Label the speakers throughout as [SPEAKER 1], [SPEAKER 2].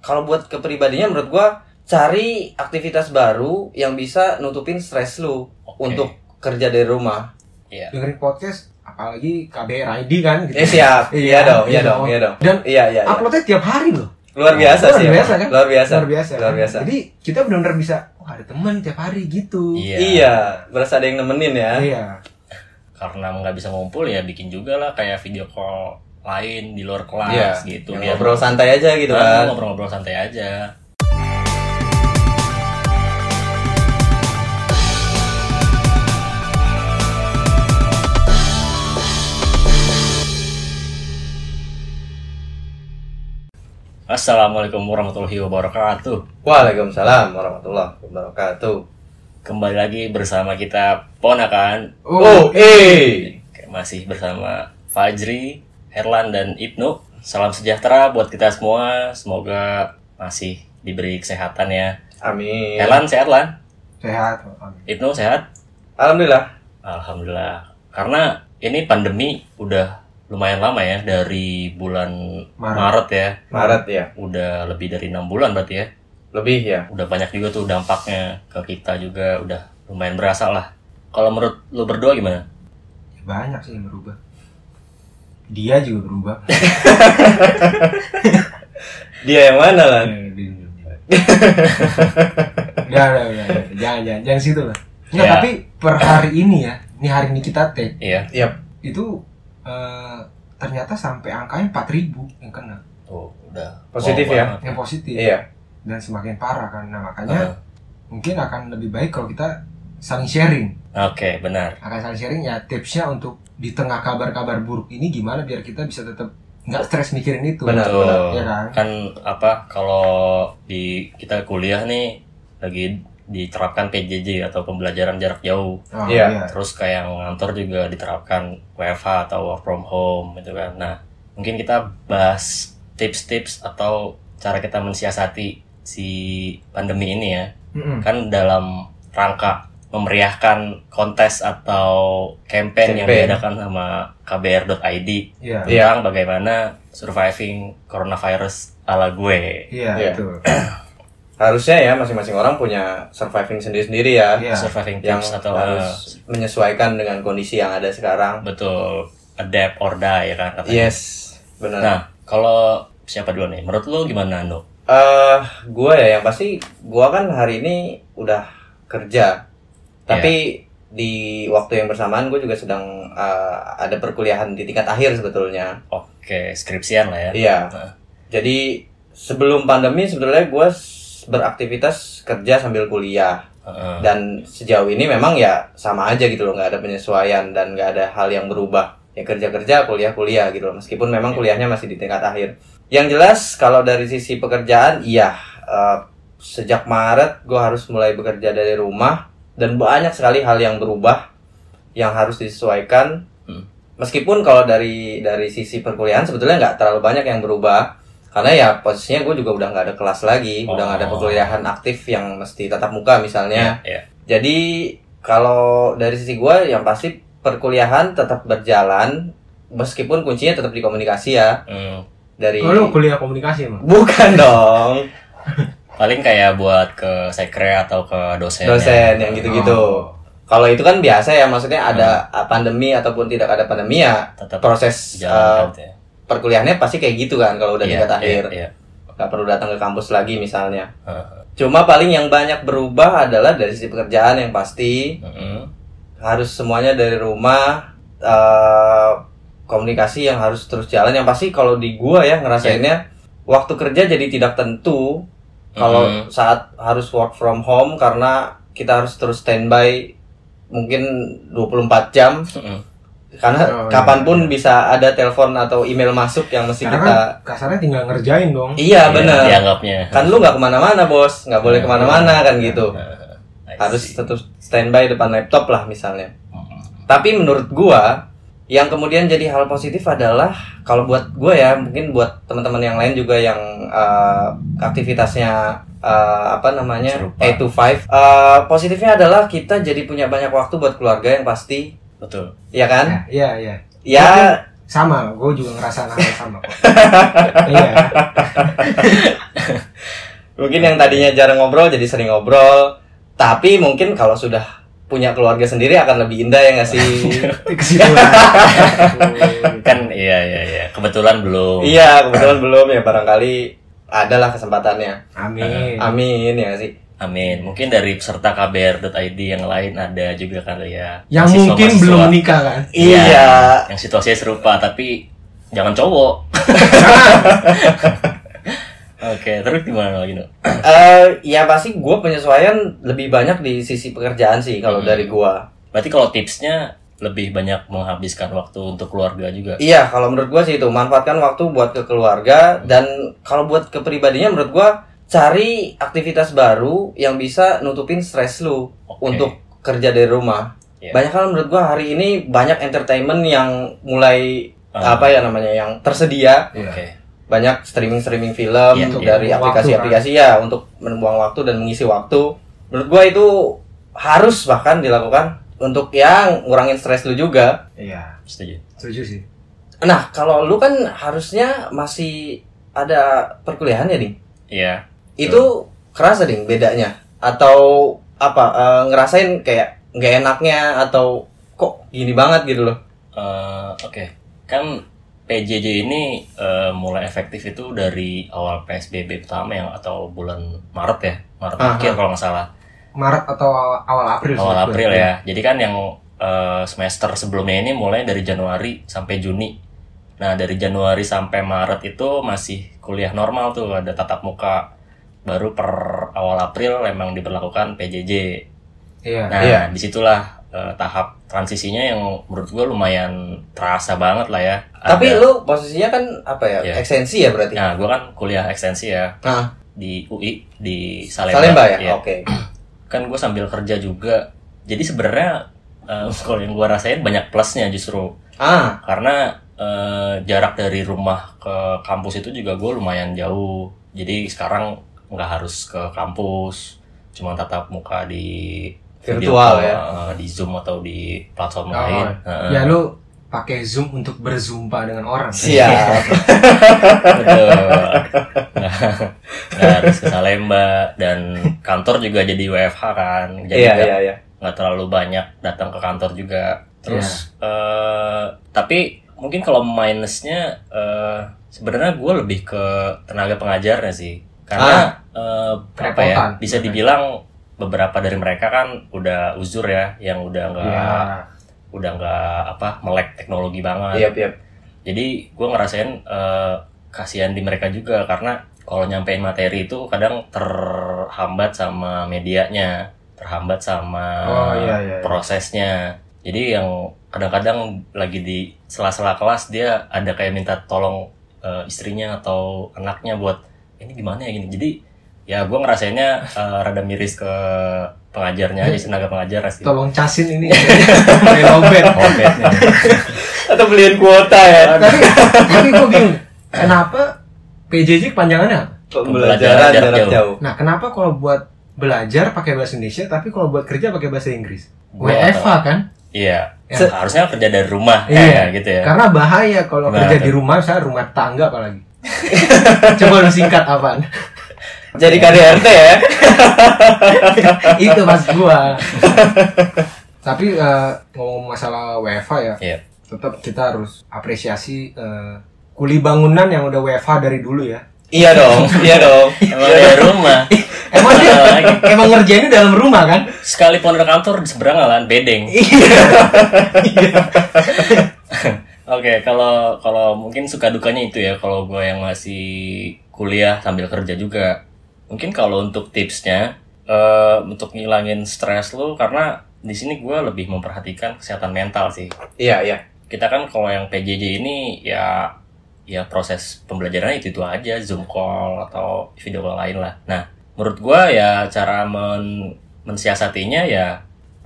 [SPEAKER 1] kalau buat kepribadinya menurut gua cari aktivitas baru yang bisa nutupin stres lu
[SPEAKER 2] Oke.
[SPEAKER 1] untuk kerja dari rumah.
[SPEAKER 2] Iya.
[SPEAKER 3] dengerin podcast apalagi KBR ID kan gitu.
[SPEAKER 1] Eh siap. Iya dong, iya dong, iya dong.
[SPEAKER 3] Dan
[SPEAKER 1] Iya, iya. iya.
[SPEAKER 3] uploadnya tiap hari loh.
[SPEAKER 1] Luar biasa
[SPEAKER 3] Luar
[SPEAKER 1] sih. emang.
[SPEAKER 3] biasa kan?
[SPEAKER 1] Luar biasa.
[SPEAKER 3] Luar biasa.
[SPEAKER 1] Luar biasa.
[SPEAKER 3] Jadi kita benar-benar bisa wah ada teman tiap hari gitu.
[SPEAKER 2] Iya.
[SPEAKER 1] Iya, berasa ada yang nemenin ya.
[SPEAKER 3] Iya.
[SPEAKER 2] Karena nggak bisa ngumpul ya bikin juga lah kayak video call lain di luar kelas
[SPEAKER 1] Iya.
[SPEAKER 2] gitu.
[SPEAKER 1] Yang
[SPEAKER 2] Biar-
[SPEAKER 1] Ngobrol santai aja gitu
[SPEAKER 3] Iya.
[SPEAKER 2] Nah,
[SPEAKER 1] kan.
[SPEAKER 2] Ngobrol-ngobrol santai aja. Assalamualaikum warahmatullahi wabarakatuh.
[SPEAKER 1] Waalaikumsalam warahmatullahi wabarakatuh.
[SPEAKER 2] Kembali lagi bersama kita kan? ponakan
[SPEAKER 3] Oh,
[SPEAKER 1] eh.
[SPEAKER 2] masih bersama Fajri, Herlan dan Ibnu. Salam sejahtera buat kita semua. Semoga masih diberi kesehatan ya.
[SPEAKER 1] Amin.
[SPEAKER 2] Herlan sehat Lan,
[SPEAKER 3] sehat.
[SPEAKER 2] Ibnu sehat.
[SPEAKER 1] Alhamdulillah.
[SPEAKER 2] Alhamdulillah. Karena ini pandemi udah lumayan lama ya dari bulan
[SPEAKER 3] Maret.
[SPEAKER 2] Maret ya.
[SPEAKER 1] Maret ya.
[SPEAKER 2] Udah lebih dari enam bulan berarti ya.
[SPEAKER 1] Lebih ya.
[SPEAKER 2] Udah banyak juga tuh dampaknya ke kita juga udah lumayan berasa lah. Kalau menurut lu berdua gimana?
[SPEAKER 3] Banyak sih yang berubah. Dia juga berubah.
[SPEAKER 1] Dia yang mana lah?
[SPEAKER 3] Iya, udah, udah, udah, udah. Jangan, jangan, jangan situ lah. Nggak,
[SPEAKER 1] Iya.
[SPEAKER 2] Ya.
[SPEAKER 3] tapi per hari ini ya, ini hari ini kita take
[SPEAKER 2] Iya.
[SPEAKER 3] itu eh, ternyata sampai angkanya 4000 yang kena,
[SPEAKER 2] Tuh, udah.
[SPEAKER 1] Positif
[SPEAKER 2] Wow
[SPEAKER 3] Oh,
[SPEAKER 1] ya?
[SPEAKER 2] banget.
[SPEAKER 3] yang positif
[SPEAKER 1] Iya.
[SPEAKER 3] dan semakin parah kan. Nah makanya
[SPEAKER 2] Heeh.
[SPEAKER 3] mungkin akan lebih baik kalau kita saling sharing,
[SPEAKER 2] Oke, benar.
[SPEAKER 3] akan saling sharing ya tipsnya untuk di tengah kabar-kabar buruk ini gimana biar kita bisa tetap nggak stres mikirin itu,
[SPEAKER 1] Benar. Iya,
[SPEAKER 2] Betul.
[SPEAKER 3] ya kan?
[SPEAKER 2] Kan apa kalau di kita kuliah nih lagi diterapkan PJJ atau pembelajaran jarak jauh.
[SPEAKER 3] Oh,
[SPEAKER 1] Iya.
[SPEAKER 2] Terus kayak ngantor juga diterapkan WFH atau work from home gitu kan. Nah, mungkin kita bahas tips-tips atau cara kita mensiasati si pandemi ini ya.
[SPEAKER 3] Mm-mm.
[SPEAKER 2] Kan dalam rangka memeriahkan kontes atau campaign yang
[SPEAKER 1] Campaign.
[SPEAKER 2] diadakan sama kbr.id
[SPEAKER 3] Iya,
[SPEAKER 1] Iya.
[SPEAKER 2] tentang bagaimana surviving coronavirus ala gue.
[SPEAKER 3] iya,
[SPEAKER 1] Iya.
[SPEAKER 3] betul.
[SPEAKER 1] Harusnya ya masing-masing orang punya surviving sendiri-sendiri ya.
[SPEAKER 3] Iya.
[SPEAKER 2] Surviving
[SPEAKER 1] Yang
[SPEAKER 2] tips atau eh,
[SPEAKER 1] harus menyesuaikan dengan kondisi yang ada sekarang.
[SPEAKER 2] betul adapt or die ya kan katanya.
[SPEAKER 1] Yes, benar. Eh,
[SPEAKER 2] Nah, kalau siapa dulu nih? Menurut lo gimana, Anu? Ando?
[SPEAKER 1] gua ya yang pasti gua kan hari ini udah kerja.
[SPEAKER 2] Iya.
[SPEAKER 1] Tapi di waktu yang bersamaan gue juga sedang eh, ada perkuliahan di tingkat akhir sebetulnya.
[SPEAKER 2] Oke, skripsian lah ya.
[SPEAKER 1] Iya. Jadi sebelum pandemi sebetulnya gue beraktivitas kerja sambil kuliah
[SPEAKER 2] Heeh.
[SPEAKER 1] dan sejauh ini memang ya sama aja gitu loh nggak ada penyesuaian dan nggak ada hal yang berubah ya kerja kerja kuliah kuliah gitu loh meskipun memang
[SPEAKER 2] Iya.
[SPEAKER 1] kuliahnya masih di tingkat akhir yang jelas kalau dari sisi pekerjaan iya eh, sejak Maret gue harus mulai bekerja dari rumah dan banyak sekali hal yang berubah yang harus disesuaikan
[SPEAKER 2] Hmm.
[SPEAKER 1] meskipun kalau dari dari sisi perkuliahan sebetulnya nggak terlalu banyak yang berubah karena ya posisinya gue juga udah nggak ada kelas lagi udah nggak ada
[SPEAKER 2] Oh.
[SPEAKER 1] perkuliahan aktif yang mesti tatap muka misalnya
[SPEAKER 2] Iya.
[SPEAKER 1] jadi kalau dari sisi gue yang pasti perkuliahan tetap berjalan meskipun kuncinya tetap di komunikasi ya
[SPEAKER 2] Hmm.
[SPEAKER 1] dari
[SPEAKER 3] Oh, lu kuliah komunikasi emang?
[SPEAKER 1] bukan dong
[SPEAKER 2] Paling kayak buat ke sekre atau ke dosen. ya.
[SPEAKER 1] dosen yang gitu. gitu-gitu.
[SPEAKER 3] Oh.
[SPEAKER 1] Kalau itu kan biasa ya maksudnya ada
[SPEAKER 2] Hmm.
[SPEAKER 1] ah, pandemi ataupun tidak ada pandemi ya
[SPEAKER 2] Tetap
[SPEAKER 1] proses
[SPEAKER 2] jalan ya. gitu
[SPEAKER 1] eh, perkuliahnya pasti kayak gitu kan kalau udah tingkat akhir
[SPEAKER 2] Iya.
[SPEAKER 1] nggak perlu datang ke kampus lagi misalnya.
[SPEAKER 2] Heeh.
[SPEAKER 1] Cuma paling yang banyak berubah adalah dari sisi pekerjaan yang pasti
[SPEAKER 2] Heeh.
[SPEAKER 1] harus semuanya dari rumah eh, komunikasi yang harus terus jalan yang pasti kalau di gua ya ngerasainnya waktu kerja jadi tidak tentu kalau
[SPEAKER 2] Mhm.
[SPEAKER 1] saat harus work from home karena kita harus terus standby mungkin 24 jam
[SPEAKER 2] Heeh.
[SPEAKER 1] karena
[SPEAKER 3] Oh, iya,
[SPEAKER 1] kapanpun
[SPEAKER 3] iya.
[SPEAKER 1] bisa ada telepon atau email masuk yang mesti
[SPEAKER 3] Karena
[SPEAKER 1] kita
[SPEAKER 3] kan kasarnya tinggal ngerjain dong.
[SPEAKER 1] iya
[SPEAKER 2] Iya,
[SPEAKER 1] bener
[SPEAKER 2] Dianggapnya.
[SPEAKER 1] kan lu nggak kemana-mana bos nggak boleh
[SPEAKER 2] Iya.
[SPEAKER 1] kemana-mana kan gitu
[SPEAKER 2] Heeh. I
[SPEAKER 1] harus
[SPEAKER 2] see.
[SPEAKER 1] tetap standby depan laptop lah misalnya
[SPEAKER 2] Heeh.
[SPEAKER 1] Tapi menurut gua yang kemudian jadi hal positif adalah kalau buat gua ya mungkin buat teman-teman yang lain juga yang eh, aktivitasnya eh, apa namanya
[SPEAKER 2] Serupa.
[SPEAKER 1] 8 to 5 Eh, positifnya adalah kita jadi punya banyak waktu buat keluarga yang pasti
[SPEAKER 2] Betul.
[SPEAKER 1] ya kan
[SPEAKER 3] Ya, Iya, iya.
[SPEAKER 1] ya
[SPEAKER 3] Sama, gue juga ngerasa hal yang sama kok. iya.
[SPEAKER 1] mungkin yang tadinya jarang ngobrol jadi sering ngobrol tapi mungkin kalau sudah punya keluarga sendiri akan lebih indah ya nggak sih
[SPEAKER 3] Ke situ lagi.
[SPEAKER 2] kan iya iya iya kebetulan belum
[SPEAKER 1] iya kebetulan belum ya barangkali adalah kesempatannya
[SPEAKER 3] Amin.
[SPEAKER 1] amin ya nggak sih
[SPEAKER 2] amin mungkin dari peserta kbr.id yang lain ada juga kali ya
[SPEAKER 3] Yang
[SPEAKER 2] Mahasiswa-
[SPEAKER 3] mungkin
[SPEAKER 2] mahasiswa
[SPEAKER 3] belum nikah kan.
[SPEAKER 2] Iya.
[SPEAKER 1] iya
[SPEAKER 2] yang situasinya serupa tapi jangan cowok oke terus gimana lagi Nuk?
[SPEAKER 1] Eh, ya pasti gue penyesuaian lebih banyak di sisi pekerjaan sih kalau
[SPEAKER 2] Hmm.
[SPEAKER 1] dari gue
[SPEAKER 2] berarti kalau tipsnya lebih banyak menghabiskan waktu untuk keluarga juga
[SPEAKER 1] Iya, kalau menurut gua sih itu manfaatkan waktu buat ke keluarga dan kalau buat ke pribadinya menurut gua cari aktivitas baru yang bisa nutupin stres lu
[SPEAKER 2] Oke.
[SPEAKER 1] untuk kerja dari rumah.
[SPEAKER 2] Iya.
[SPEAKER 1] Banyak hal menurut gua hari ini banyak entertainment yang mulai
[SPEAKER 2] Ah.
[SPEAKER 1] apa ya namanya yang tersedia
[SPEAKER 2] oke
[SPEAKER 3] Iya.
[SPEAKER 1] banyak streaming streaming film
[SPEAKER 2] Iya,
[SPEAKER 1] untuk
[SPEAKER 2] iya.
[SPEAKER 1] dari
[SPEAKER 3] Buang waktu,
[SPEAKER 1] aplikasi-aplikasi ya untuk membuang waktu dan mengisi waktu. Menurut gua itu harus bahkan dilakukan untuk yang ngurangin stres lu juga.
[SPEAKER 3] Iya.
[SPEAKER 2] setuju
[SPEAKER 3] Setuju sih.
[SPEAKER 1] Nah, kalau lu kan harusnya masih ada perkuliahannya, Ding.
[SPEAKER 2] iya
[SPEAKER 1] Itu kerasa, Ding, bedanya. Atau apa, eh, ngerasain kayak nggak enaknya atau kok gini banget gitu loh.
[SPEAKER 2] Eh, oke kan PJJ ini eh, mulai efektif itu dari awal PSBB pertama yang atau bulan Maret ya Maret
[SPEAKER 1] Aha.
[SPEAKER 2] akhir kalau nggak salah
[SPEAKER 3] Maret atau awal April?
[SPEAKER 1] Iya.
[SPEAKER 2] awal
[SPEAKER 3] seingat gue.
[SPEAKER 2] April ya jadi kan yang eh, semester sebelumnya ini mulai dari Januari sampai Juni nah dari Januari sampai Maret itu masih kuliah normal tuh ada tatap muka baru per awal April memang diberlakukan PJJ
[SPEAKER 3] Iya.
[SPEAKER 2] Nah,
[SPEAKER 1] Iya.
[SPEAKER 2] disitulah eh, tahap transisinya yang menurut gue lumayan terasa banget lah ya.
[SPEAKER 1] Tapi
[SPEAKER 2] Ada-
[SPEAKER 1] lu posisinya kan apa ya?
[SPEAKER 2] Iya.
[SPEAKER 1] Ekstensi ya berarti.
[SPEAKER 2] Nah, gue kan kuliah ekstensi ya
[SPEAKER 1] Nah,
[SPEAKER 2] di UI di Salemba.
[SPEAKER 1] Salemba ya?
[SPEAKER 2] Iya.
[SPEAKER 1] Oke.
[SPEAKER 2] Kan gue sambil kerja juga. Jadi sebenarnya eh, kalau yang gue rasain banyak plusnya justru
[SPEAKER 1] Ah,
[SPEAKER 2] karena eh, jarak dari rumah ke kampus itu juga gue lumayan jauh. Jadi sekarang nggak harus ke kampus, cuma tatap muka di video
[SPEAKER 1] Virtual ya?
[SPEAKER 2] call,
[SPEAKER 1] iya.
[SPEAKER 2] eh, di Zoom atau di platform
[SPEAKER 3] Oh,
[SPEAKER 2] lain. Heeh.
[SPEAKER 3] Ya lu pakai Zoom untuk berzumpa dengan orang. Iya.
[SPEAKER 1] siap.
[SPEAKER 2] Betul. Nah, nggak harus ke Salemba dan kantor juga jadi WFH kan. Jadi
[SPEAKER 1] Iya,
[SPEAKER 2] nggak-
[SPEAKER 1] iya, iya.
[SPEAKER 2] nggak terlalu banyak datang ke kantor juga. Terus
[SPEAKER 3] Iya.
[SPEAKER 2] eh, tapi mungkin kalau minusnya eh, sebenarnya gue lebih ke tenaga pengajarnya sih. Karena eh, apa ya
[SPEAKER 3] Ah, Kerepotan. Iya.
[SPEAKER 2] bisa dibilang beberapa dari mereka kan udah uzur ya yang udah nggak
[SPEAKER 3] Iya.
[SPEAKER 2] udah nggak apa melek teknologi banget
[SPEAKER 1] Iya, iya.
[SPEAKER 2] jadi gue ngerasain eh, kasihan di mereka juga karena kalau nyampein materi itu kadang terhambat sama medianya terhambat sama
[SPEAKER 3] Oh, iya, iya, iya.
[SPEAKER 2] prosesnya jadi yang kadang-kadang lagi di sela-sela kelas dia ada kayak minta tolong eh, istrinya atau anaknya buat ini gimana ya gini jadi ya gue ngerasainnya eh, rada miris ke pengajarnya aja tenaga pengajar sih
[SPEAKER 3] Tolong casin ini. Lobet.
[SPEAKER 2] Obatnya.
[SPEAKER 1] Atau beliin kuota ya.
[SPEAKER 3] tapi tapi gue bingung. Kenapa PJJ kepanjangannya apa?
[SPEAKER 1] Pembelajaran
[SPEAKER 2] jarak
[SPEAKER 1] jarak
[SPEAKER 2] jauh.
[SPEAKER 1] jauh.
[SPEAKER 3] Nah, kenapa kalau buat belajar pakai bahasa Indonesia, tapi kalau buat kerja pakai bahasa Inggris?
[SPEAKER 2] Gua
[SPEAKER 3] WFA kan?
[SPEAKER 2] Iya,
[SPEAKER 3] Se-
[SPEAKER 2] harusnya kerja dari rumah
[SPEAKER 3] Iya.
[SPEAKER 2] kayak gitu ya.
[SPEAKER 3] Karena bahaya kalau
[SPEAKER 2] Nah,
[SPEAKER 3] kerja
[SPEAKER 2] kan.
[SPEAKER 3] di rumah, saya rumah tangga apalagi. Coba lu singkat apaan?
[SPEAKER 1] Jadi KDRT ya.
[SPEAKER 3] Itu mas gua. tapi eh, ngomong masalah WFA ya,
[SPEAKER 2] Iya.
[SPEAKER 3] tetap kita harus apresiasi eh, kuli bangunan yang udah WFA dari dulu ya.
[SPEAKER 1] Iya dong, iya dong.
[SPEAKER 2] Emang dari rumah.
[SPEAKER 3] Emang dia
[SPEAKER 2] Apa lagi?
[SPEAKER 3] Eh, emang ngerjainnya dalam rumah kan?
[SPEAKER 2] Sekalipun ada kantor di seberang lah, kan? bedeng. Oke, kalau kalau mungkin suka dukanya itu ya kalau gue yang masih kuliah sambil kerja juga. Mungkin kalau untuk tipsnya eh untuk ngilangin stres lu karena di sini gue lebih memperhatikan kesehatan mental sih.
[SPEAKER 1] Iya, iya.
[SPEAKER 2] Kita kan kalau yang PJJ ini ya ya proses pembelajarannya itu itu aja zoom call atau video call lain lah. Nah, menurut gua ya cara men mensiasatinya ya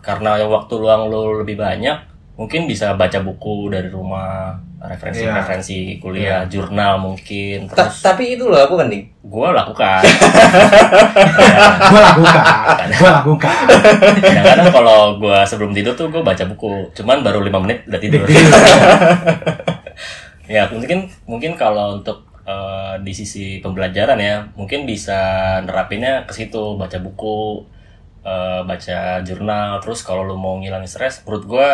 [SPEAKER 2] karena waktu luang lu lebih banyak, mungkin bisa baca buku dari rumah, referensi-referensi kuliah, jurnal mungkin.
[SPEAKER 1] Ta-
[SPEAKER 2] Terus
[SPEAKER 1] tapi itu loh aku kan, Ding.
[SPEAKER 2] gua lakukan.
[SPEAKER 3] Gua lakukan, gua lakukan.
[SPEAKER 2] Ya, Kadang-kadang kalau gua sebelum tidur tuh gua baca buku, cuman Gitu. baru lima menit udah tidur. ya mungkin mungkin kalau untuk eh, di sisi pembelajaran ya mungkin bisa nerapinnya ke situ baca buku eh, baca jurnal terus kalau lu mau ngilangin stres menurut gua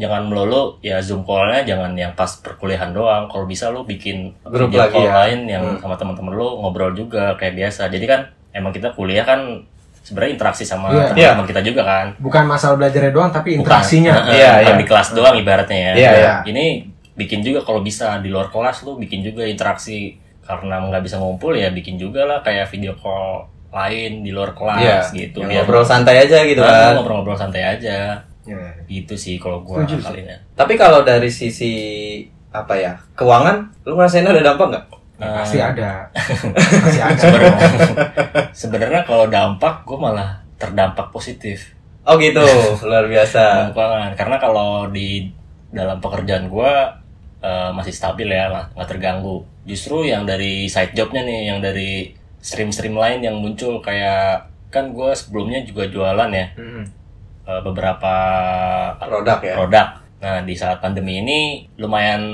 [SPEAKER 2] jangan melulu ya zoom call-nya jangan yang pas perkuliahan doang kalau bisa lu bikin
[SPEAKER 1] Grup
[SPEAKER 2] video
[SPEAKER 1] lagi
[SPEAKER 2] call
[SPEAKER 1] ya.
[SPEAKER 2] lain yang
[SPEAKER 1] Hmm.
[SPEAKER 2] sama teman-teman lu ngobrol juga kayak biasa jadi kan emang kita kuliah kan sebenarnya interaksi sama
[SPEAKER 3] Iya.
[SPEAKER 2] teman-teman kita juga kan
[SPEAKER 3] bukan masalah belajarnya doang
[SPEAKER 2] Bukan.
[SPEAKER 3] tapi interaksinya
[SPEAKER 1] Iya,
[SPEAKER 2] Heeh, Eh, bukan
[SPEAKER 1] iya.
[SPEAKER 2] di kelas doang ibaratnya ya.
[SPEAKER 1] Iya,
[SPEAKER 3] iya.
[SPEAKER 2] Ini bikin juga kalau bisa di luar kelas lu bikin juga interaksi karena nggak bisa ngumpul ya bikin juga lah kayak video call lain di luar kelas
[SPEAKER 1] Iya,
[SPEAKER 2] gitu
[SPEAKER 1] yang ngobrol santai aja gitu
[SPEAKER 2] Nah,
[SPEAKER 1] kan.
[SPEAKER 2] ngobrol-ngobrol santai aja
[SPEAKER 3] Ya.
[SPEAKER 2] gitu sih kalau gua
[SPEAKER 3] Setuju sih.
[SPEAKER 2] kali ini.
[SPEAKER 1] Tapi kalau dari sisi apa ya keuangan, lu ngerasain ada dampak nggak?
[SPEAKER 2] Nah,
[SPEAKER 3] ya, pasti ada pasti ada
[SPEAKER 2] sebenarnya sebenarnya kalau dampak gua malah terdampak positif
[SPEAKER 1] Oh gitu, luar biasa.
[SPEAKER 2] Dalam Eh, keuangan. karena kalau di dalam pekerjaan gua eh, masih stabil ya nggak nggak terganggu justru yang dari side jobnya nih yang dari stream-stream lain yang muncul kayak kan gua sebelumnya juga jualan ya
[SPEAKER 3] Mm.
[SPEAKER 2] eh, beberapa
[SPEAKER 1] Produk ya.
[SPEAKER 2] produk nah di saat pandemi ini lumayan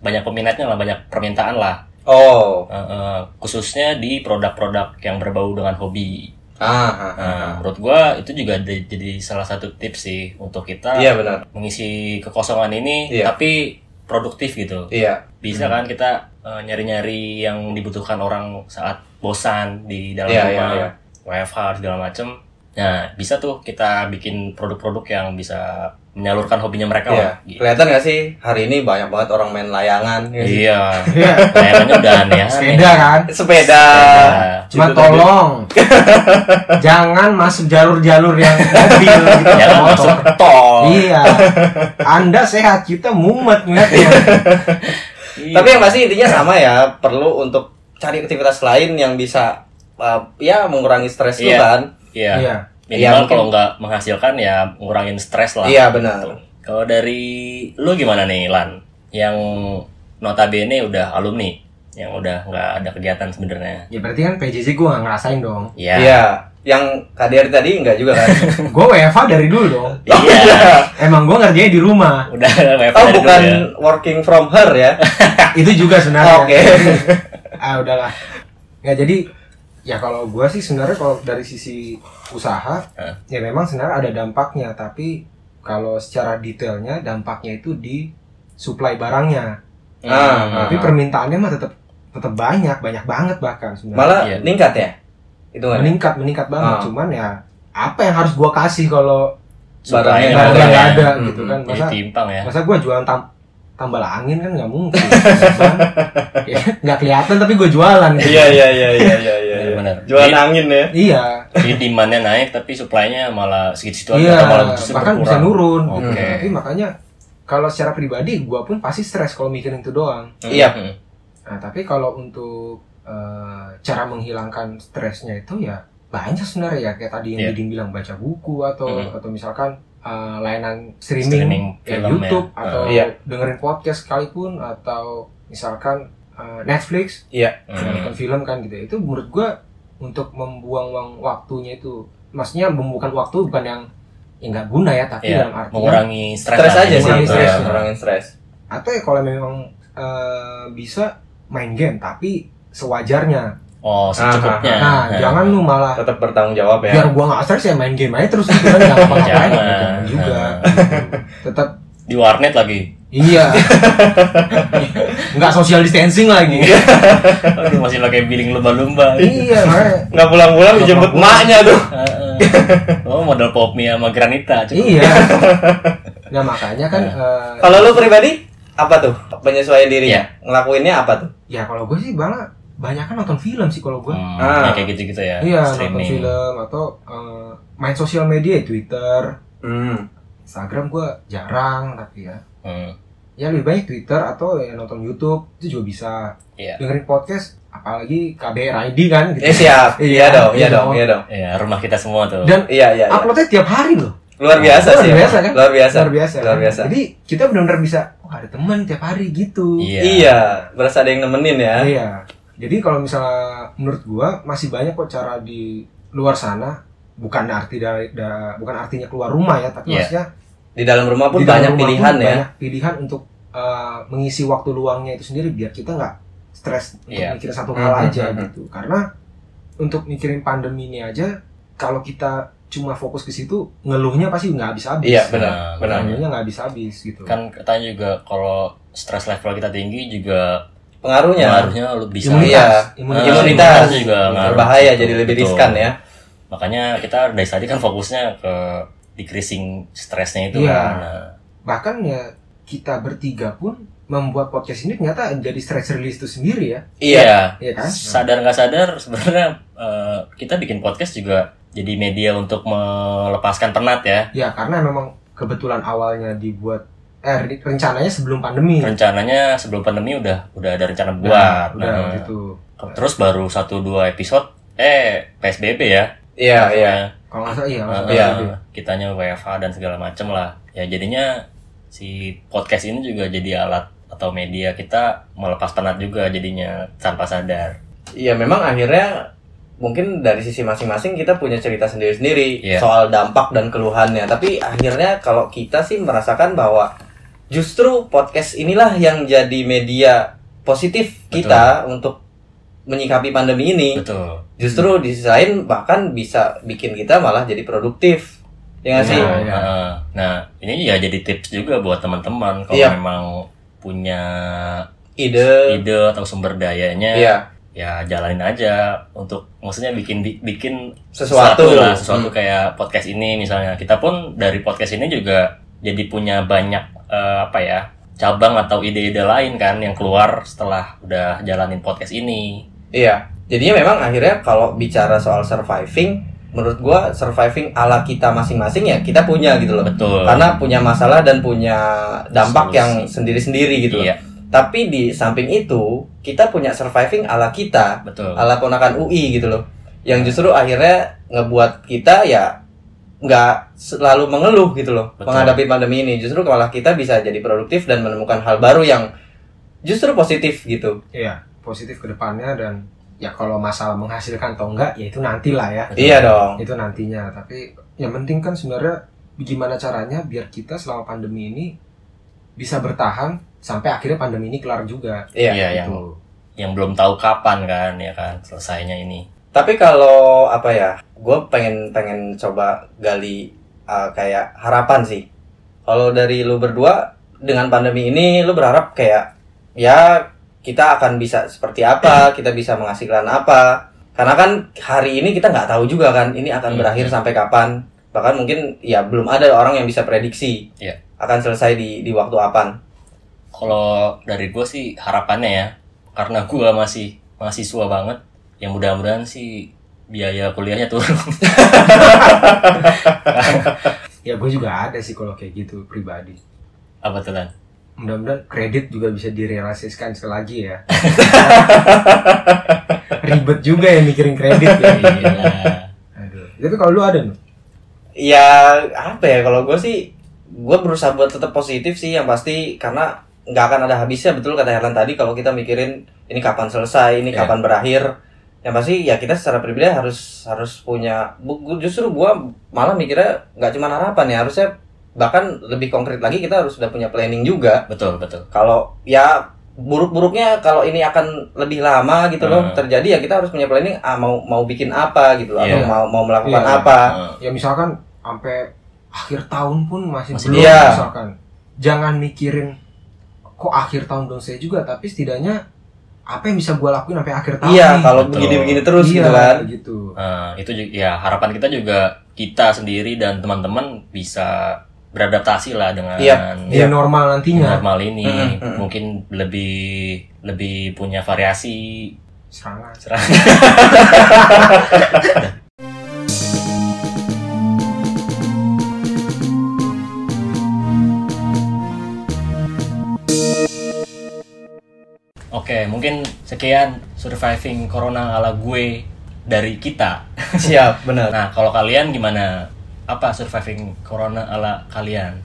[SPEAKER 2] banyak peminatnya lah banyak permintaan lah
[SPEAKER 1] Oh,
[SPEAKER 2] Eh, eh, khususnya di produk-produk yang berbau dengan hobi
[SPEAKER 1] ah, ah, ah.
[SPEAKER 2] nah, menurut gua itu juga jadi- jadi salah satu tips sih untuk kita
[SPEAKER 1] iya benar,
[SPEAKER 2] mengisi kekosongan ini
[SPEAKER 1] Iya.
[SPEAKER 2] tapi produktif gitu
[SPEAKER 1] iya,
[SPEAKER 2] bisa kan kita eh, nyari-nyari yang dibutuhkan orang saat bosan di dalam
[SPEAKER 1] Iya,
[SPEAKER 2] rumah
[SPEAKER 1] iya, iya.
[SPEAKER 2] WFH segala macem nah bisa tuh kita bikin produk-produk yang bisa menyalurkan hobinya mereka
[SPEAKER 1] iya.
[SPEAKER 2] lah Gitu.
[SPEAKER 1] Kelihatan nggak sih hari ini banyak banget orang main layangan, ya sih?
[SPEAKER 2] iya layangannya udah aneh
[SPEAKER 3] sepeda kan
[SPEAKER 1] sepeda.
[SPEAKER 3] cuma
[SPEAKER 1] Itu tadi.
[SPEAKER 3] tolong jangan masuk jalur-jalur yang mobil gitu
[SPEAKER 2] jangan
[SPEAKER 3] motor.
[SPEAKER 2] masuk tol
[SPEAKER 1] Oh.
[SPEAKER 3] iya anda sehat kita mumet ya. ngeliatnya
[SPEAKER 2] Iya.
[SPEAKER 1] Tapi yang pasti intinya sama ya, perlu untuk cari aktivitas lain yang bisa uh, ya mengurangi stres lu
[SPEAKER 2] Iya.
[SPEAKER 1] kan.
[SPEAKER 2] iya
[SPEAKER 3] iya
[SPEAKER 1] Iya,
[SPEAKER 2] minimal
[SPEAKER 1] mungkin-
[SPEAKER 2] kalau nggak menghasilkan ya ngurangin stres lah
[SPEAKER 1] Iya benar.
[SPEAKER 2] Betul. Kalau dari lu gimana nih Lan? Yang notabene udah alumni, yang udah nggak ada kegiatan sebenarnya.
[SPEAKER 3] ya berarti kan PJJ gue gak ngerasain dong
[SPEAKER 2] Iya.
[SPEAKER 1] Iya, yang KDR tadi enggak juga kan?
[SPEAKER 3] gue WFA dari dulu dong
[SPEAKER 2] Iya.
[SPEAKER 3] emang gue ngerjain di rumah
[SPEAKER 2] Udah WFH
[SPEAKER 1] Oh
[SPEAKER 2] dari dulu
[SPEAKER 1] bukan
[SPEAKER 2] ya.
[SPEAKER 1] working from her ya? Oh,
[SPEAKER 3] itu juga sebenarnya
[SPEAKER 1] Oke.
[SPEAKER 3] ah udahlah nggak jadi ya kalau gue sih sebenarnya kalau dari sisi usaha
[SPEAKER 2] Hah?
[SPEAKER 3] ya memang sebenarnya ada dampaknya tapi kalau secara detailnya dampaknya itu di supply barangnya
[SPEAKER 2] Hmm.
[SPEAKER 1] Ah,
[SPEAKER 3] tapi
[SPEAKER 1] ah.
[SPEAKER 3] permintaannya mah tetap tetap banyak banyak banget bahkan sebenarnya
[SPEAKER 1] Malah
[SPEAKER 2] Iya.
[SPEAKER 1] meningkat ya? Itu kan.
[SPEAKER 3] meningkat meningkat banget
[SPEAKER 1] Ah.
[SPEAKER 3] cuman ya apa yang harus gue kasih kalau
[SPEAKER 2] Barangnya
[SPEAKER 3] barangnya
[SPEAKER 2] nggak ada
[SPEAKER 3] nggak
[SPEAKER 2] ya.
[SPEAKER 3] ada
[SPEAKER 1] Hmm,
[SPEAKER 3] gitu kan
[SPEAKER 2] Jadi
[SPEAKER 3] masa
[SPEAKER 2] timpang ya.
[SPEAKER 3] masa gue jualan tam tambal angin kan nggak mungkin Susah. Ya, nggak kelihatan tapi gue jualan gitu.
[SPEAKER 1] Iya iya iya iya iya iya.
[SPEAKER 2] Benar, benar.
[SPEAKER 1] Jualan
[SPEAKER 2] Jadi-
[SPEAKER 1] angin ya.
[SPEAKER 3] iya
[SPEAKER 2] Jadi demand-nya naik tapi supply-nya malah segitu-segitu aja
[SPEAKER 3] iya
[SPEAKER 2] atau malah justru
[SPEAKER 3] bahkan
[SPEAKER 2] berkurang.
[SPEAKER 3] bisa nurun gitu.
[SPEAKER 2] Oke.
[SPEAKER 3] tapi makanya kalau secara pribadi gue pun pasti stres kalau mikirin itu doang
[SPEAKER 2] Hmm,
[SPEAKER 1] Iya.
[SPEAKER 2] hmm.
[SPEAKER 3] nah tapi kalau untuk eh, cara menghilangkan stresnya itu ya banyak sebenarnya ya kayak tadi
[SPEAKER 2] Iya.
[SPEAKER 3] yang Diding bilang baca buku atau
[SPEAKER 2] Mhm.
[SPEAKER 3] atau misalkan eh, layanan
[SPEAKER 2] Streaming
[SPEAKER 3] streaming, ya,
[SPEAKER 2] film ya.
[SPEAKER 3] YouTube atau
[SPEAKER 1] Iya.
[SPEAKER 3] dengerin podcast sekalipun atau misalkan eh, Netflix
[SPEAKER 2] Hmm.
[SPEAKER 3] nonton film kan gitu itu menurut gua untuk membuang-buang waktunya itu maksudnya bukan waktu bukan yang yang nggak guna ya tapi
[SPEAKER 2] Iya,
[SPEAKER 3] dalam artian
[SPEAKER 2] mengurangi stres,
[SPEAKER 1] Stres
[SPEAKER 2] lah.
[SPEAKER 1] aja sih,
[SPEAKER 3] Mengurangi
[SPEAKER 1] stres,
[SPEAKER 3] stres.
[SPEAKER 1] ngurangin stres.
[SPEAKER 3] atau ya kalau memang eh, bisa main game tapi sewajarnya
[SPEAKER 2] Oh, secukupnya.
[SPEAKER 3] nah
[SPEAKER 2] Nah.
[SPEAKER 3] jangan lu malah
[SPEAKER 1] Tetap bertanggung jawab ya.
[SPEAKER 3] biar gua nggak stres ya main game aja terus gitu kan nggak apa-apa
[SPEAKER 2] Jangan. Nah.
[SPEAKER 3] juga tetap
[SPEAKER 2] Di warnet lagi.
[SPEAKER 3] iya nggak social distancing lagi
[SPEAKER 2] Aduh, masih pakai billing lumba-lumba.
[SPEAKER 3] iya makanya
[SPEAKER 1] Nggak pulang-pulang
[SPEAKER 3] Nggak
[SPEAKER 1] dijemput
[SPEAKER 3] pulang-pulang.
[SPEAKER 1] maknya tuh.
[SPEAKER 2] Heeh. oh modal pop mie sama granita cukup.
[SPEAKER 3] iya nah makanya kan eh,
[SPEAKER 1] Kalau lu pribadi apa tuh penyesuaian dirinya? Ngelakuinnya apa tuh?
[SPEAKER 3] ya kalau gue sih malah banyak kan nonton film sih kalau gue
[SPEAKER 2] Hmm,
[SPEAKER 1] Ah.
[SPEAKER 2] ya kayak gitu-gitu ya
[SPEAKER 3] iya nonton
[SPEAKER 2] streaming
[SPEAKER 3] film atau eh, main sosial media Twitter
[SPEAKER 1] Hmm.
[SPEAKER 3] Instagram gue jarang tapi ya
[SPEAKER 2] Hmm.
[SPEAKER 3] ya lebih banyak Twitter atau ya nonton YouTube itu juga bisa
[SPEAKER 2] Iya.
[SPEAKER 3] dengerin podcast apalagi KBR ID kan gitu
[SPEAKER 1] Eh siap. Iya
[SPEAKER 3] Iya,
[SPEAKER 1] dong, iya
[SPEAKER 3] iya
[SPEAKER 1] dong,
[SPEAKER 3] dong.
[SPEAKER 1] iya dong.
[SPEAKER 2] ya rumah kita semua tuh
[SPEAKER 3] dan
[SPEAKER 1] Iya, iya. iya.
[SPEAKER 3] uploadnya tiap hari loh
[SPEAKER 1] Luar biasa
[SPEAKER 3] Luar
[SPEAKER 1] sih.
[SPEAKER 3] biasa,
[SPEAKER 1] emang.
[SPEAKER 3] kan?
[SPEAKER 1] Luar biasa.
[SPEAKER 3] luar biasa
[SPEAKER 1] Luar
[SPEAKER 3] kan?
[SPEAKER 1] biasa.
[SPEAKER 3] jadi kita benar-benar bisa oh, ada teman tiap hari gitu
[SPEAKER 2] iya
[SPEAKER 1] Iya, berasa ada yang nemenin ya.
[SPEAKER 3] Iya. Jadi kalau misalnya menurut gua masih banyak kok cara di luar sana bukan arti dari da- bukan artinya keluar rumah ya, tapi
[SPEAKER 2] Iya.
[SPEAKER 3] maksudnya
[SPEAKER 1] Di dalam rumah pun
[SPEAKER 3] di dalam
[SPEAKER 1] banyak
[SPEAKER 3] rumah pun
[SPEAKER 1] pilihan ya.
[SPEAKER 3] Banyak pilihan untuk eh, mengisi waktu luangnya itu sendiri biar kita nggak stres untuk
[SPEAKER 2] Iya.
[SPEAKER 3] mikirin satu hal
[SPEAKER 1] Mhm,
[SPEAKER 3] aja
[SPEAKER 1] mhm.
[SPEAKER 3] gitu karena untuk mikirin pandemi ini aja kalau kita cuma fokus ke situ ngeluhnya pasti nggak habis-habis
[SPEAKER 1] Iya, benar,
[SPEAKER 2] Nah,
[SPEAKER 1] benar.
[SPEAKER 3] ngeluhnya nggak habis-habis gitu
[SPEAKER 2] kan katanya juga kalau stress level kita tinggi juga
[SPEAKER 1] Pengaruhnya
[SPEAKER 2] pengaruhnya lu bisa
[SPEAKER 1] Imunitas. Iya.
[SPEAKER 2] Nah,
[SPEAKER 1] Imunitas.
[SPEAKER 2] juga ngaruh.
[SPEAKER 1] berbahaya
[SPEAKER 2] Betul,
[SPEAKER 1] jadi lebih
[SPEAKER 2] betul.
[SPEAKER 1] riskan ya.
[SPEAKER 2] makanya kita dari tadi kan fokusnya ke decreasing stresnya itu
[SPEAKER 3] Iya.
[SPEAKER 2] kan. Nah,
[SPEAKER 3] bahkan ya kita bertiga pun membuat podcast ini ternyata jadi stress release itu sendiri ya
[SPEAKER 1] Iya.
[SPEAKER 3] ya kan
[SPEAKER 2] sadar nggak sadar sebenarnya eh, kita bikin podcast juga jadi media untuk melepaskan penat ya
[SPEAKER 3] ya karena memang kebetulan awalnya dibuat eh re- rencananya sebelum pandemi
[SPEAKER 2] rencananya sebelum pandemi udah udah ada rencana
[SPEAKER 3] Nah,
[SPEAKER 2] buat
[SPEAKER 3] udah
[SPEAKER 2] Nah,
[SPEAKER 3] gitu
[SPEAKER 2] terus baru satu dua episode eh psbb ya
[SPEAKER 1] Iya, iya.
[SPEAKER 3] kalau nggak salah iya
[SPEAKER 2] Nah,
[SPEAKER 3] maksudnya
[SPEAKER 1] Iya.
[SPEAKER 2] eh, kitanya wfa dan segala macem lah ya jadinya si podcast ini juga jadi alat atau media kita melepas penat juga jadinya tanpa sadar
[SPEAKER 1] Iya, memang akhirnya mungkin dari sisi masing-masing kita punya cerita sendiri-sendiri
[SPEAKER 2] Iya.
[SPEAKER 1] soal dampak dan keluhannya. Tapi akhirnya kalau kita sih merasakan bahwa justru podcast inilah yang jadi media positif
[SPEAKER 2] Betul.
[SPEAKER 1] kita untuk menyikapi pandemi ini.
[SPEAKER 2] betul
[SPEAKER 1] Justru di sisi lain bahkan bisa bikin kita malah jadi produktif. Ya nggak sih?
[SPEAKER 2] Nah,
[SPEAKER 3] Iya.
[SPEAKER 2] nah, nah, ini ya jadi tips juga buat teman-teman kalau
[SPEAKER 1] Iya.
[SPEAKER 2] memang punya
[SPEAKER 1] Ide.
[SPEAKER 2] ide atau sumber dayanya
[SPEAKER 1] Iya,
[SPEAKER 2] ya jalanin aja untuk maksudnya bikin bi- bikin
[SPEAKER 1] sesuatu.
[SPEAKER 2] lah sesuatu
[SPEAKER 1] Hmm.
[SPEAKER 2] kayak podcast ini misalnya kita pun dari podcast ini juga jadi punya banyak eh, apa ya cabang atau ide-ide lain kan yang keluar setelah udah jalanin podcast ini
[SPEAKER 1] Iya. Jadinya memang akhirnya kalau bicara soal surviving, menurut gua surviving ala kita masing-masing ya kita punya gitu loh.
[SPEAKER 2] betul
[SPEAKER 1] karena punya masalah dan punya dampak
[SPEAKER 2] Solusi.
[SPEAKER 1] yang sendiri-sendiri gitu. loh.
[SPEAKER 2] iya
[SPEAKER 1] Tapi di samping itu kita punya surviving ala kita,
[SPEAKER 2] betul
[SPEAKER 1] ala ponakan UI gitu loh, yang justru akhirnya ngebuat kita ya nggak selalu mengeluh gitu loh
[SPEAKER 2] Betul.
[SPEAKER 1] menghadapi pandemi ini. Justru malah kita bisa jadi produktif dan menemukan hal baru yang justru positif gitu.
[SPEAKER 3] Iya, positif ke depannya dan ya kalau masalah menghasilkan atau enggak ya itu nantilah ya
[SPEAKER 2] Betul.
[SPEAKER 1] Iya dong.
[SPEAKER 3] itu nantinya tapi yang penting kan sebenarnya gimana caranya biar kita selama pandemi ini bisa bertahan sampai akhirnya pandemi ini kelar juga
[SPEAKER 1] Iya.
[SPEAKER 2] Iya, yang
[SPEAKER 3] Gitu.
[SPEAKER 2] yang belum tahu kapan kan ya kan selesainya ini
[SPEAKER 1] Tapi kalau apa ya, gue pengen pengen coba gali uh, kayak harapan sih. Kalau dari lu berdua dengan pandemi ini, lu berharap kayak ya kita akan bisa seperti apa, kita bisa menghasilkan apa. Karena kan hari ini kita nggak tahu juga kan, ini akan
[SPEAKER 2] Hmm.
[SPEAKER 1] berakhir sampai kapan. Bahkan mungkin ya belum ada orang yang bisa prediksi
[SPEAKER 2] Iya.
[SPEAKER 1] akan selesai di di waktu apa.
[SPEAKER 2] kalau dari gue sih harapannya ya karena gue masih mahasiswa banget yang mudah-mudahan sih biaya kuliahnya turun
[SPEAKER 3] ya gue juga ada sih kalau kayak gitu pribadi
[SPEAKER 2] apa tuh Lan?
[SPEAKER 3] mudah-mudahan kredit juga bisa direalisasikan sekali lagi ya ribet juga ya mikirin kredit ya
[SPEAKER 2] Gila.
[SPEAKER 3] Aduh. tapi kalau lu ada nih
[SPEAKER 1] ya apa ya kalau gue sih gue berusaha buat tetap positif sih yang pasti karena nggak akan ada habisnya betul kata Herlan tadi kalau kita mikirin ini kapan selesai ini
[SPEAKER 2] Iya.
[SPEAKER 1] kapan berakhir yang pasti ya kita secara pribadi harus harus punya bu- gu- justru gue malah mikirnya nggak cuma harapan ya harusnya bahkan lebih konkret lagi kita harus sudah punya planning juga
[SPEAKER 2] betul betul
[SPEAKER 1] kalau ya buruk-buruknya kalau ini akan lebih lama gitu loh
[SPEAKER 2] Hmm.
[SPEAKER 1] terjadi ya kita harus punya planning ah, mau mau bikin apa gitu loh atau
[SPEAKER 2] Iya.
[SPEAKER 1] mau mau melakukan
[SPEAKER 3] Iya.
[SPEAKER 1] apa
[SPEAKER 2] Heeh.
[SPEAKER 3] ya misalkan sampai akhir tahun pun masih,
[SPEAKER 2] Masih
[SPEAKER 3] belum
[SPEAKER 1] iya.
[SPEAKER 3] misalkan jangan mikirin kok akhir tahun dong saya juga tapi setidaknya apa yang bisa gue lakuin sampai akhir tahun
[SPEAKER 1] Iya,
[SPEAKER 3] nih?
[SPEAKER 1] kalau
[SPEAKER 2] Betul.
[SPEAKER 1] begini-begini terus
[SPEAKER 3] Iya,
[SPEAKER 1] gitu kan.
[SPEAKER 3] gitu
[SPEAKER 2] Nah, itu ju- ya harapan kita juga kita sendiri dan teman-teman bisa beradaptasi lah dengan
[SPEAKER 1] Iya.
[SPEAKER 3] Jadi normal nantinya
[SPEAKER 2] normal ini
[SPEAKER 1] Mm, mm, mm.
[SPEAKER 2] mungkin lebih lebih punya variasi
[SPEAKER 1] Iya.
[SPEAKER 3] serangan
[SPEAKER 2] Oke, mungkin sekian surviving corona ala gue dari kita.
[SPEAKER 1] siap benar
[SPEAKER 2] Nah, kalau kalian gimana? Apa surviving corona ala kalian?